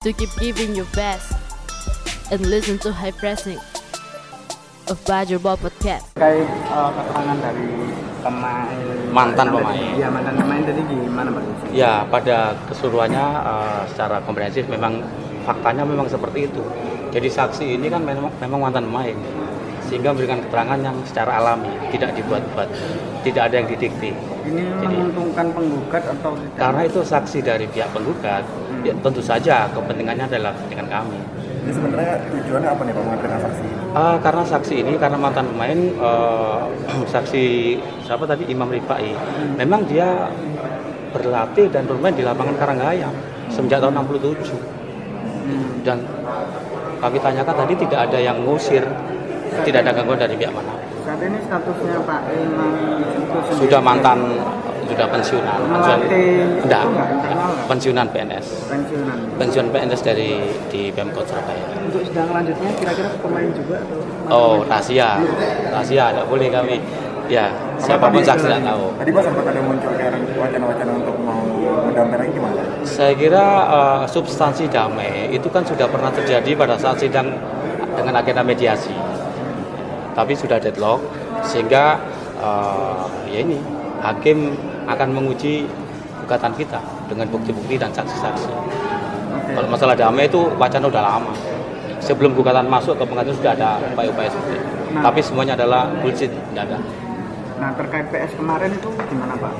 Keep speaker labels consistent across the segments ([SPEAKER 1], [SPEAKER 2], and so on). [SPEAKER 1] to keep giving your best and listen to high pressing of Bajur Ball Podcast.
[SPEAKER 2] terkait eh, keterangan dari pemain
[SPEAKER 3] Mantan
[SPEAKER 2] dari-
[SPEAKER 3] pemain.
[SPEAKER 2] iya mantan pemain tadi gimana Pak Yusuf?
[SPEAKER 3] Ya, pada keseluruhannya eh, secara komprehensif memang faktanya memang seperti itu. Jadi saksi ini kan memang, memang mantan pemain, sehingga memberikan keterangan yang secara alami, tidak dibuat-buat, tidak ada yang didikti.
[SPEAKER 2] ini
[SPEAKER 3] Jadi-
[SPEAKER 2] menguntungkan penggugat atau tidak
[SPEAKER 3] Karena itu saksi dari pihak penggugat, ya, tentu saja kepentingannya adalah kepentingan kami.
[SPEAKER 4] Ini sebenarnya tujuannya apa nih Pak menghadirkan saksi ini?
[SPEAKER 3] Eh, karena saksi ini, karena mantan pemain, eh, saksi siapa tadi Imam Rifai,
[SPEAKER 2] Hmm.
[SPEAKER 3] memang dia berlatih dan bermain di lapangan Karanggayam semenjak tahun 67.
[SPEAKER 2] Hmm.
[SPEAKER 3] dan kami tanyakan tadi tidak ada yang ngusir tidak ada gangguan dari pihak mana
[SPEAKER 2] saat ini statusnya Pak Imam itu sendiri
[SPEAKER 3] sudah mantan sudah pensiunan pensiunan
[SPEAKER 2] Melatih itu
[SPEAKER 3] enggak,
[SPEAKER 2] enggak internal enggak?
[SPEAKER 3] pensiunan PNS
[SPEAKER 2] pensiunan
[SPEAKER 3] pensiunan PNS dari di Pemkot Surabaya
[SPEAKER 2] untuk sedang lanjutnya kira-kira pemain juga atau mantan
[SPEAKER 3] oh
[SPEAKER 2] pemain?
[SPEAKER 3] rahasia rahasia tidak boleh kami ya siapapun saksi tidak tahu
[SPEAKER 4] Tadi Pak sempat ada muncul kayak wacana-wacana untuk mau mendampingi gimana?
[SPEAKER 3] Saya kira eh, substansi damai itu kan sudah pernah terjadi pada saat sidang dengan agenda mediasi, tapi sudah deadlock sehingga eh, ya ini hakim akan menguji gugatan kita dengan bukti-bukti dan saksi-saksi.
[SPEAKER 2] Oke.
[SPEAKER 3] Kalau masalah damai itu wacana udah lama. Sebelum gugatan masuk ke pengadilan sudah ada upaya-upaya seperti itu.
[SPEAKER 2] Nah.
[SPEAKER 3] Tapi semuanya adalah bullshit, tidak ada.
[SPEAKER 2] nah terkait PS kemarin itu gimana Pak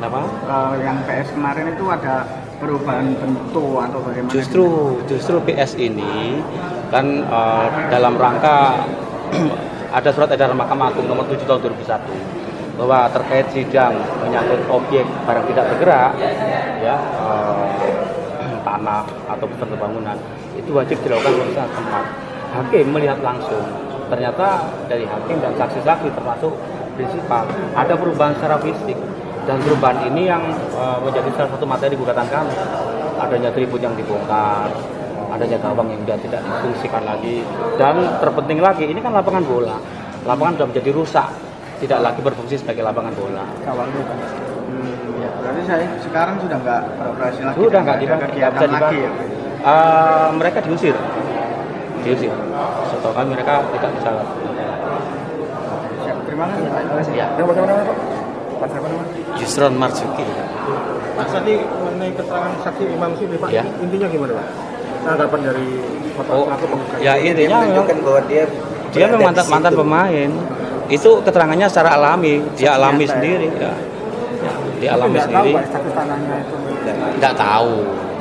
[SPEAKER 3] Kenapa?
[SPEAKER 2] Eh, yang PS kemarin itu ada perubahan bentuk atau bagaimana
[SPEAKER 3] Justru justru PS ini kan eh, dalam rangka ada surat edaran Mahkamah Agung nomor 7 tahun 2001 bahwa terkait sidang menyangkut objek barang tidak bergerak ya eh, tanah atau beserta bangunan itu wajib dilakukan pemeriksaan tempat. Hakim melihat langsung ternyata dari hakim dan saksi-saksi termasuk prinsipal ada perubahan secara fisik dan perubahan ini yang eh, menjadi salah satu materi gugatan kami adanya tribun yang dibongkar adanya gawang yang sudah tidak difungsikan lagi dan terpenting lagi ini kan lapangan bola lapangan sudah menjadi rusak tidak lagi berfungsi sebagai lapangan bola
[SPEAKER 2] kawan lu Pak Hmm, ya. berarti saya sekarang sudah nggak beroperasi lagi
[SPEAKER 3] Sudah
[SPEAKER 2] dan
[SPEAKER 3] nggak
[SPEAKER 2] ada
[SPEAKER 3] dipakai, nggak
[SPEAKER 2] kegiatan
[SPEAKER 3] bisa
[SPEAKER 2] lagi
[SPEAKER 3] dipakai.
[SPEAKER 2] ya Pak?
[SPEAKER 3] Eh, mereka diusir diusir setahu kami mereka tidak bisa
[SPEAKER 2] Siap, terima kasih Pak
[SPEAKER 3] ya
[SPEAKER 4] Yang Pak siapa namanya Pak? Pak siapa namanya?
[SPEAKER 3] Yusron Marzuki
[SPEAKER 5] Mas tadi mengenai keterangan saksi Imam Sibri Pak,
[SPEAKER 3] Ya.
[SPEAKER 5] intinya gimana Pak? Tanggapan dari Bapak
[SPEAKER 3] Oh,
[SPEAKER 5] selaku penggugat.
[SPEAKER 3] ya intinya memang
[SPEAKER 4] bahwa dia
[SPEAKER 3] dia memang mantan mantan pemain itu keterangannya secara alami dia
[SPEAKER 2] nyata
[SPEAKER 3] alami
[SPEAKER 2] ya.
[SPEAKER 3] sendiri ya. Ya, dia alami
[SPEAKER 2] nggak tahu
[SPEAKER 3] sendiri
[SPEAKER 2] Pak status tanahnya itu
[SPEAKER 3] nggak tahu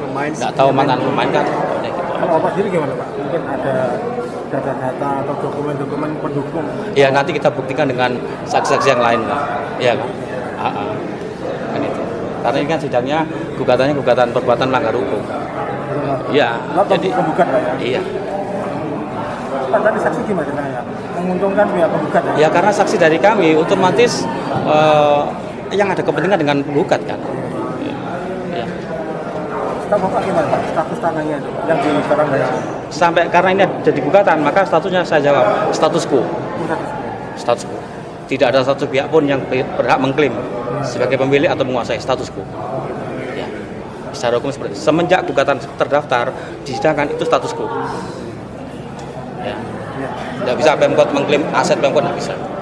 [SPEAKER 5] Pemain
[SPEAKER 3] nggak tahu mantan pemain kan pokoknya gitu.
[SPEAKER 5] Kalau Bapak sendiri gimana Pak? Mungkin ada data-data atau dokumen-dokumen pendukung.
[SPEAKER 3] ya nanti kita buktikan dengan saksi-saksi yang lain lah ya kan Ah, ah. kan itu karena ini kan sidangnya gugatannya gugatan perbuatan melanggar hukum ya
[SPEAKER 5] Lo
[SPEAKER 3] jadi
[SPEAKER 5] jadi penggugat Pak ya?
[SPEAKER 3] iya
[SPEAKER 5] Pak
[SPEAKER 4] Kan
[SPEAKER 5] tadi saksi gimana
[SPEAKER 4] ya?
[SPEAKER 5] ceritanya? Menguntungkan pihak penggugat ya?
[SPEAKER 3] ya karena saksi dari kami otomatis eh, yang ada kepentingan dengan penggugat kan ya.
[SPEAKER 5] Tahu Bapak gimana Pak? Status tanahnya itu yang di
[SPEAKER 4] ya?
[SPEAKER 5] Surabaya.
[SPEAKER 3] sampai karena ini jadi gugatan maka statusnya saya jawab status quo status quo tidak ada satu pihak pun yang berhak mengklaim sebagai pemilik atau menguasai status quo ya. secara hukum seperti itu. semenjak gugatan terdaftar disidangkan itu status quo ya. tidak bisa pemkot mengklaim aset pemkot tidak bisa